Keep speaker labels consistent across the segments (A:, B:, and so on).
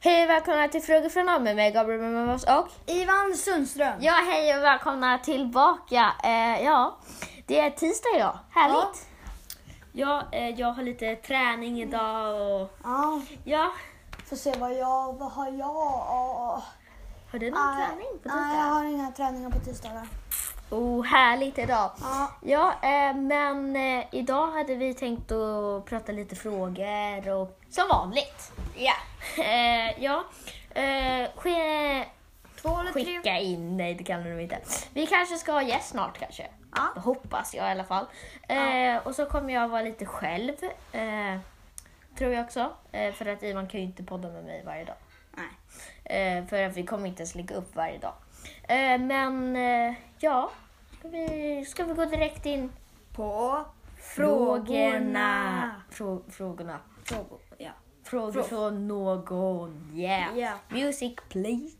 A: Hej och välkomna till Frågor från Noll med mig Gabriel Mummas och
B: Ivan Sundström.
A: Ja, hej och välkomna tillbaka. Eh, ja, det är tisdag idag. Härligt. Ja, eh, jag har lite träning idag och
B: Ja.
A: ja.
B: Får se vad jag, vad har jag?
A: Har du någon
B: Nej,
A: träning på
B: Nej, jag
A: tisdag?
B: har inga träningar på tisdagar.
A: Oh, härligt idag.
B: Ja.
A: Ja, eh, men eh, idag hade vi tänkt att prata lite frågor och som vanligt.
B: Ja.
A: Eh, ja, eh, ske-
B: Två eller tre?
A: Skicka in, nej det kan du nog inte. Vi kanske ska ha gäst snart kanske.
B: Ja.
A: Det hoppas jag i alla fall. Eh, och så kommer jag vara lite själv. Eh, tror jag också. Eh, för att Ivan kan ju inte podda med mig varje dag.
B: Nej.
A: Eh, för att vi kommer inte ens lägga upp varje dag. Eh, men eh, ja, ska vi, ska vi gå direkt in?
B: På
A: Frågorna. Frå, frågorna.
B: Frågor. Ja.
A: Frågor
B: Frå-
A: från någon. Yeah.
B: Ja.
A: Music please.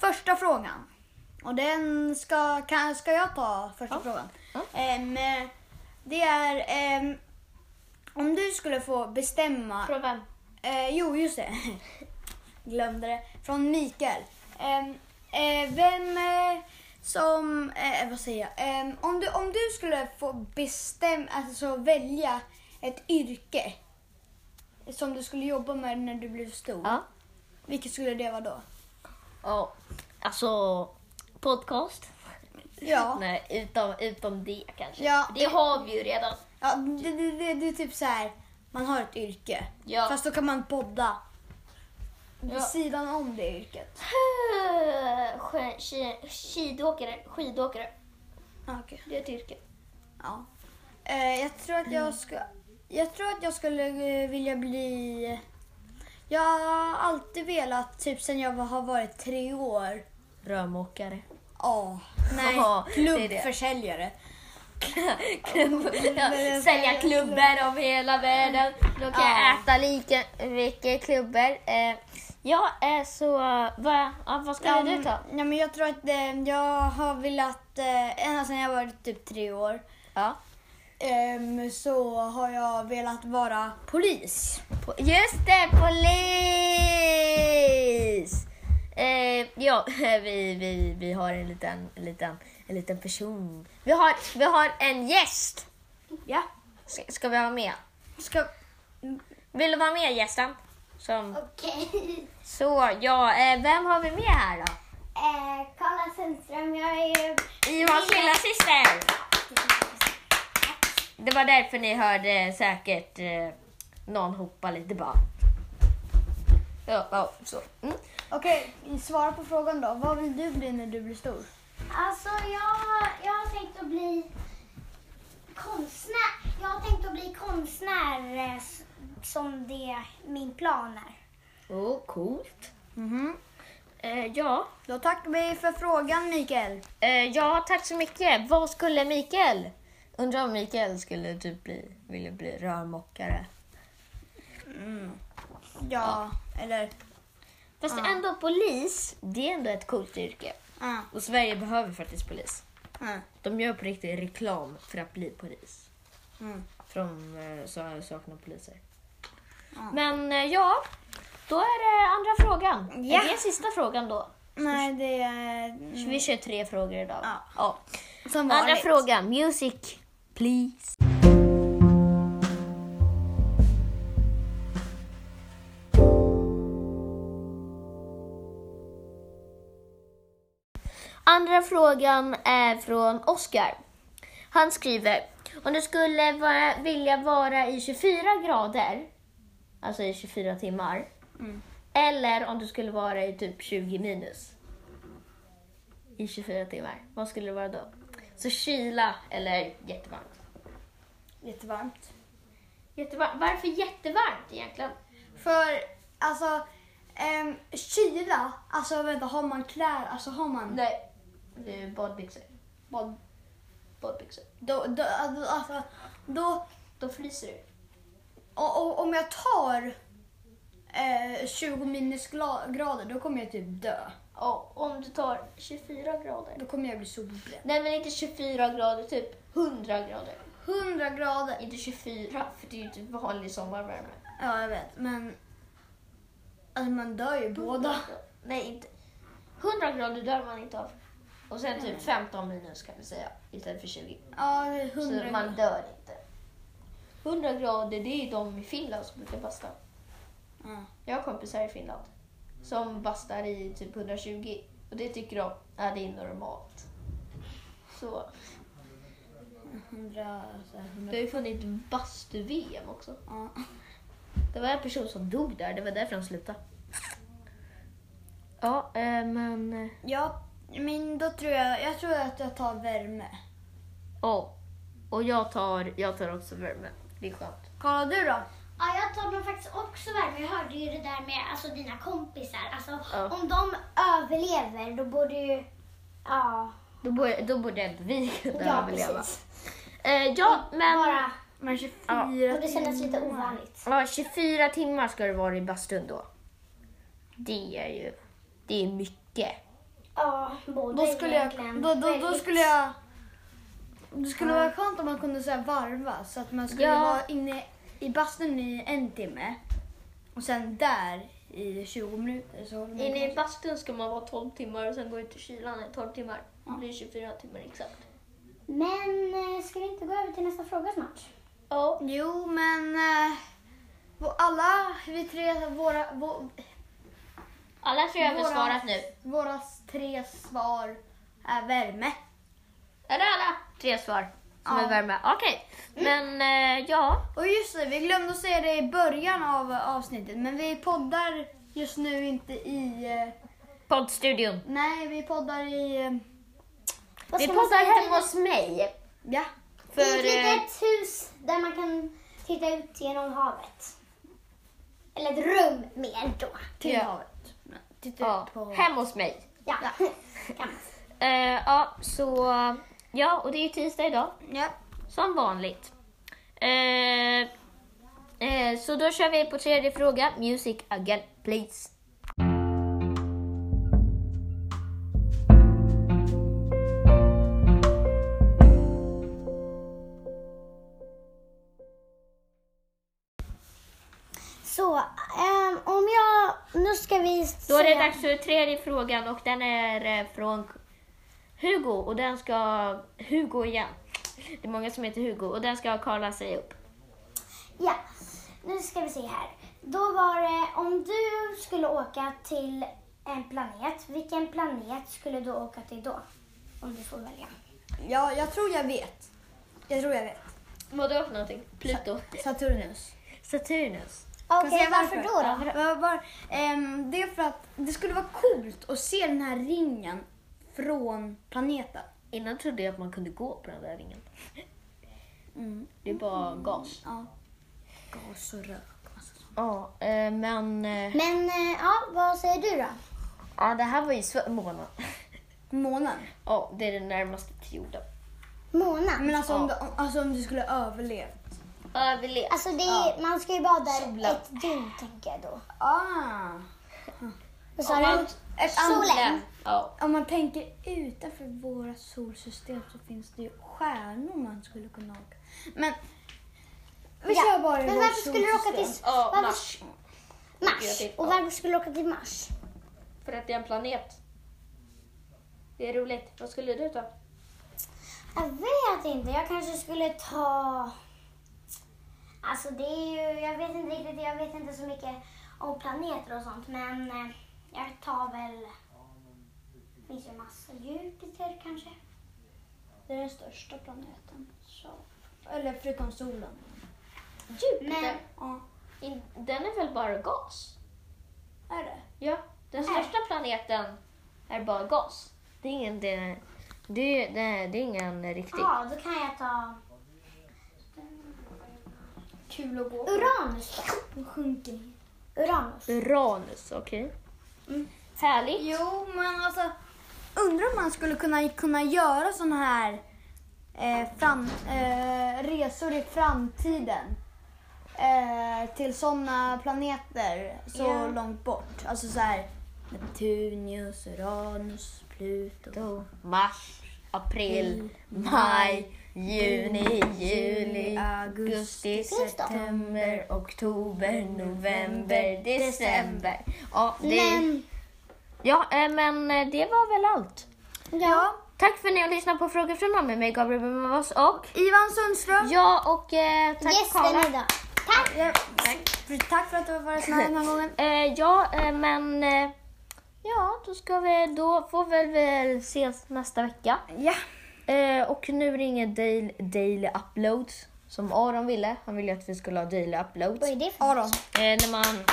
B: Första frågan. Och den ska, kan, ska jag ta första
A: Ja.
B: frågan?
A: Ja.
B: Ehm, eh, det är ehm, om du skulle få bestämma
A: Från vem?
B: Eh, jo, just det. Glömde det. Från Mikael. Ehm, eh, vem eh, som... Eh, vad säger jag? Ehm, om, du, om du skulle få bestämma, alltså välja ett yrke som du skulle jobba med när du blev stor.
A: Ja.
B: Vilket skulle det vara då?
A: Ja, alltså podcast.
B: Ja,
A: Nej, utom, utom det kanske.
B: Ja.
A: Det har vi ju redan.
B: ja det, det, det, det är typ så här. Man har ett yrke.
A: Ja.
B: Fast då kan man podda
A: Ja.
B: vid sidan om det yrket.
A: Sk- ski- Skidåkare, skidåkare.
B: Ah, okej.
A: Det är ett yrke.
B: Ja. Eh, jag tror att jag ska... Jag tror att jag skulle eh, vilja bli... Jag har alltid velat, typ sen jag var- har varit tre år.
A: Rörmokare.
B: Ja. nej,
A: Ja, det är det.
B: klubbförsäljare.
A: Sälja klubbor om hela världen. Då kan jag
B: Ja.
A: äta lika mycket klubbor. Eh, ja, eh, så vad, ja, mm. vad skulle du ta?
B: ja, men jag tror att eh, jag har velat, eh, ända sedan jag var typ tre år,
A: Ja.
B: ehm, så har jag velat vara polis.
A: Po- Just det, polis! Eh, ja, vi, vi, vi har en liten, en liten, en liten person. Vi har, vi har en gäst!
B: Ja.
A: Ska, ska vi ha med?
B: Ska...
A: Vill du vara med gästen? Som,
C: Okej.
A: så, ja, eh, vem har vi med här då?
C: Eh, Karla Sundström, jag är ju...
A: Ivans lillasyster! Det var därför ni hörde säkert eh, någon hoppa lite bara. Ja, ja, så. Mm.
B: Okej, svara på frågan då. Vad vill du bli när du blir stor?
C: Alltså jag, jag har tänkt att bli konstnär. Jag har tänkt att bli konstnär eh, s- som det är min plan är.
A: Oh, coolt.
B: Mhm.
A: Eh, ja.
B: Då tackar vi för frågan Mikael.
A: Eh, ja, tack så mycket. Vad skulle Mikael? Undrar om Mikael skulle typ bli, vilja bli rörmokare.
B: Ja, eller...
A: Fast ändå polis, det är ändå ett coolt yrke.
B: Ja.
A: Och Sverige behöver faktiskt polis.
B: ja.
A: De gör på riktigt reklam för att bli polis.
B: Mm.
A: För de eh, sa- saknar poliser.
B: Ja.
A: Men eh, ja, då är det andra frågan.
B: Ja.
A: Är det sista frågan då?
B: Nej, det är... mm,
A: Vi kör tre frågor idag.
B: Ja.
A: Ja.
B: Som
A: Andra
B: vanligt.
A: frågan, music please. Andra frågan är från Oskar. Han skriver, om du skulle vara, vilja vara i 24 grader, alltså i 24 timmar,
B: Mm.
A: eller om du skulle vara i typ 20 minus i 24 timmar, vad skulle det vara då? Så kyla eller jättevarmt?
B: Jättevarmt.
A: jättevarmt. Varför jättevarmt egentligen?
B: För, alltså... Um, kyla, alltså vänta, har man kläder, alltså har man...
A: Nej, det är badbyxor.
B: Vad-
A: badbyxor.
B: Då, då, alltså, då
A: Då fryser du.
B: och, och, om jag tar eh, 20 minusgrader, då kommer jag typ dö.
A: Ja, om du tar 24 grader.
B: Då kommer jag bli solbränd.
A: Nej men inte 24 grader, typ 100 grader.
B: 100 grader.
A: Inte 24, för det är ju typ vanlig sommarvärme.
B: Ja, jag vet. Men... Alltså man dör ju båda.
A: Nej, inte. 100 grader dör man inte av. Och sen typ 15 minus kan vi säga, istället för 20.
B: Ja, det är
A: Så
B: 100
A: man
B: grader.
A: dör inte. 100 grader, det är de i Finland som brukar basta.
B: Ja.
A: Jag har kompisar i Finland som bastar i typ 120 och det tycker de är det är normalt. Så
B: 100, så här, 100.
A: det har ju funnits bastu-VM också.
B: Ja.
A: Det var en person som dog där, det var därför han slutade. Ja, eh, men... eh,
B: ja, men då tror jag... Jag tror att jag tar värme.
A: Ja. Och jag tar, jag tar också värme. Det är skönt.
B: Kolla du då.
C: Ja, jag tar nog faktiskt också värme. Jag hörde ju det där med alltså, dina kompisar. Alltså,
A: Ja.
C: Om de överlever, då borde ju... Ja,
A: Då borde, då borde ändå vi kunna
C: ja
A: överleva.
C: precis.
A: Eh, ja, men...
C: Bara,
B: Men 24
A: Ja.
C: och det kändes lite ovanligt.
A: Ja, 24 timmar ska det vara i bastun då. Det är ju... Det är mycket.
C: Ja, båda
B: Då
C: är
B: skulle jag...
C: egentligen
B: Då, då, då
C: väldigt-
B: skulle jag... Det skulle vara skönt om man kunde så här varva så att man skulle
A: Ja.
B: vara inne i bastun i en timme och sen där i 20 minuter. Så håller man
A: Inne i
B: på.
A: bastun ska man vara 12 timmar och sen gå ut i kylan i 12 timmar. Det blir 24 timmar exakt.
C: Men eh, ska vi inte gå över till nästa fråga snart?
A: Ja,
B: Jo, men eh, vår- alla vi tre, våra, vå-
A: alla tre har
B: Våra-
A: besvarat nu.
B: våra tre svar är värme.
A: Är det alla Mm. tre svar som
B: Ja.
A: är värme? Okej, men eh, ja.
B: Och just det, vi glömde att säga det i början av avsnittet, men vi poddar just nu inte i... eh,
A: Poddstudion.
B: Nej, vi poddar i... eh,
C: Vad
A: Vi
C: ska man
A: poddar
C: säga till-
A: hemma hos mig.
B: Ja.
A: För,
C: I ett
A: eh,
C: litet hus där man kan titta ut genom havet. Eller ett rum mer då. Typ.
B: Till
A: Ja.
B: havet. Titta
A: ja,
B: ut på...
A: hemma hos mig.
C: Ja,
B: Ja.
C: kan man.
A: Eh, ja, så... Ja, och det är ju tisdag idag.
B: Ja.
A: Som vanligt. Eh, eh, så då kör vi på tredje fråga. Music again, please.
C: Så, ehm, om jag... Nu ska vi
A: Då är det
C: säga-
A: dags för tredje frågan och den är eh, från Hugo och den ska... Hugo igen. Det är många som heter Hugo och den ska Karla säga upp.
C: Ja, nu ska vi se här. Då var det, om du skulle åka till en planet, vilken planet skulle du åka till då? Om du får välja.
B: ja, jag tror jag vet. Jag tror jag vet.
A: Vadå för någonting? Pluto?
B: Saturnus.
A: Saturnus?
C: Okej,
B: säga
C: varför,
B: varför?
C: då? då?
B: Var, var, ehm, det är för att det skulle vara coolt att se den här ringen från planeten.
A: Innan trodde jag att man kunde gå på den där ringen. Mm. Det är bara gas.
B: Ja. Gas och rök. massa sånt.
A: Ja, eh, men... eh,
C: Men eh, ja, vad säger du då?
A: Ja, det här var ju svår månad.
B: Månen.
A: Ja, det är det närmaste till jorden.
C: Månen?
B: Men alltså, om, du, om, alltså om du skulle överlevt.
A: Överlevt.
C: Alltså det är, man ska ju vara där
A: Solen.
C: ett dygn tänker jag då.
B: Ah.
C: Vad sa
A: Om
C: du?
A: man,
B: Ett
C: Solen?
A: ja,
B: Om man tänker utanför våra solsystem så finns det ju stjärnor man skulle kunna åka. Men vi
C: Ja.
B: kör bara i
C: Men
B: vårt
C: varför skulle du åka
B: solsystem.
C: till
A: Ja,
C: varför-
A: Mars.
C: Mars?
A: Jag tycker-
C: Och
A: ja.
C: varför skulle du åka till Mars?
A: för att det är en planet. Det är roligt. Vad skulle du ta?
C: Jag vet inte. Jag kanske skulle ta... Alltså det är ju... Jag vet inte riktigt. Jag vet inte så mycket om planeter och sånt. Men eh, jag tar väl... Det finns ju massor. Jupiter kanske?
B: Det är den största planeten. Så. Eller förutom solen.
A: Jupiter?
C: Men-
B: Ja,
A: In- Den är väl bara gas?
B: är det?
A: Ja, den största planeten är bara gas. Det är ingen, det, det, det, det är ingen riktig.
C: Ja, då kan jag ta
B: Kul att gå.
C: Uranus då.
B: Då sjunker ni.
C: Uranus.
A: Uranus, okej. Mm. Härligt.
B: Jo, men alltså. Undrar om man skulle kunna, kunna göra sådana här eh, fram, eh, resor i framtiden. Eh, till sådana planeter så
A: Ja.
B: långt bort. Alltså så här Neptunius, Uranus, Pluto.
A: Mars, april, maj, juni, juli, augusti, september, oktober, november, december. Ja, det,
C: Men,
A: ja, eh, men eh, det var väl allt.
C: ja.
A: Tack för att ni har lyssnat på Frågor från någon med mig, Gabriel Bumavas och
B: Ivan Sundström.
A: ja och eh, tack Karla.
C: Gästen idag. Tack!
B: Ja, tack. tack för att du har varit snäll den här gången.
A: Eh, ja, eh, men eh, ja, då ska vi, då får väl vi ses nästa vecka.
B: Ja.
A: Eh, och nu ringer Daily, daily Uploads som Aron ville. Han ville att vi skulle ha Daily Uploads.
C: Vad är
A: Eh,
C: det för
B: Aron.
A: när man...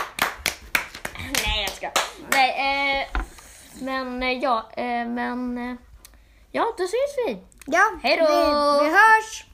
A: Nej, jag ska. Nej, eh, men eh, ja, eh, men eh, ja, då ses vi.
B: Ja.
A: Hej då!
B: Vi, vi hörs.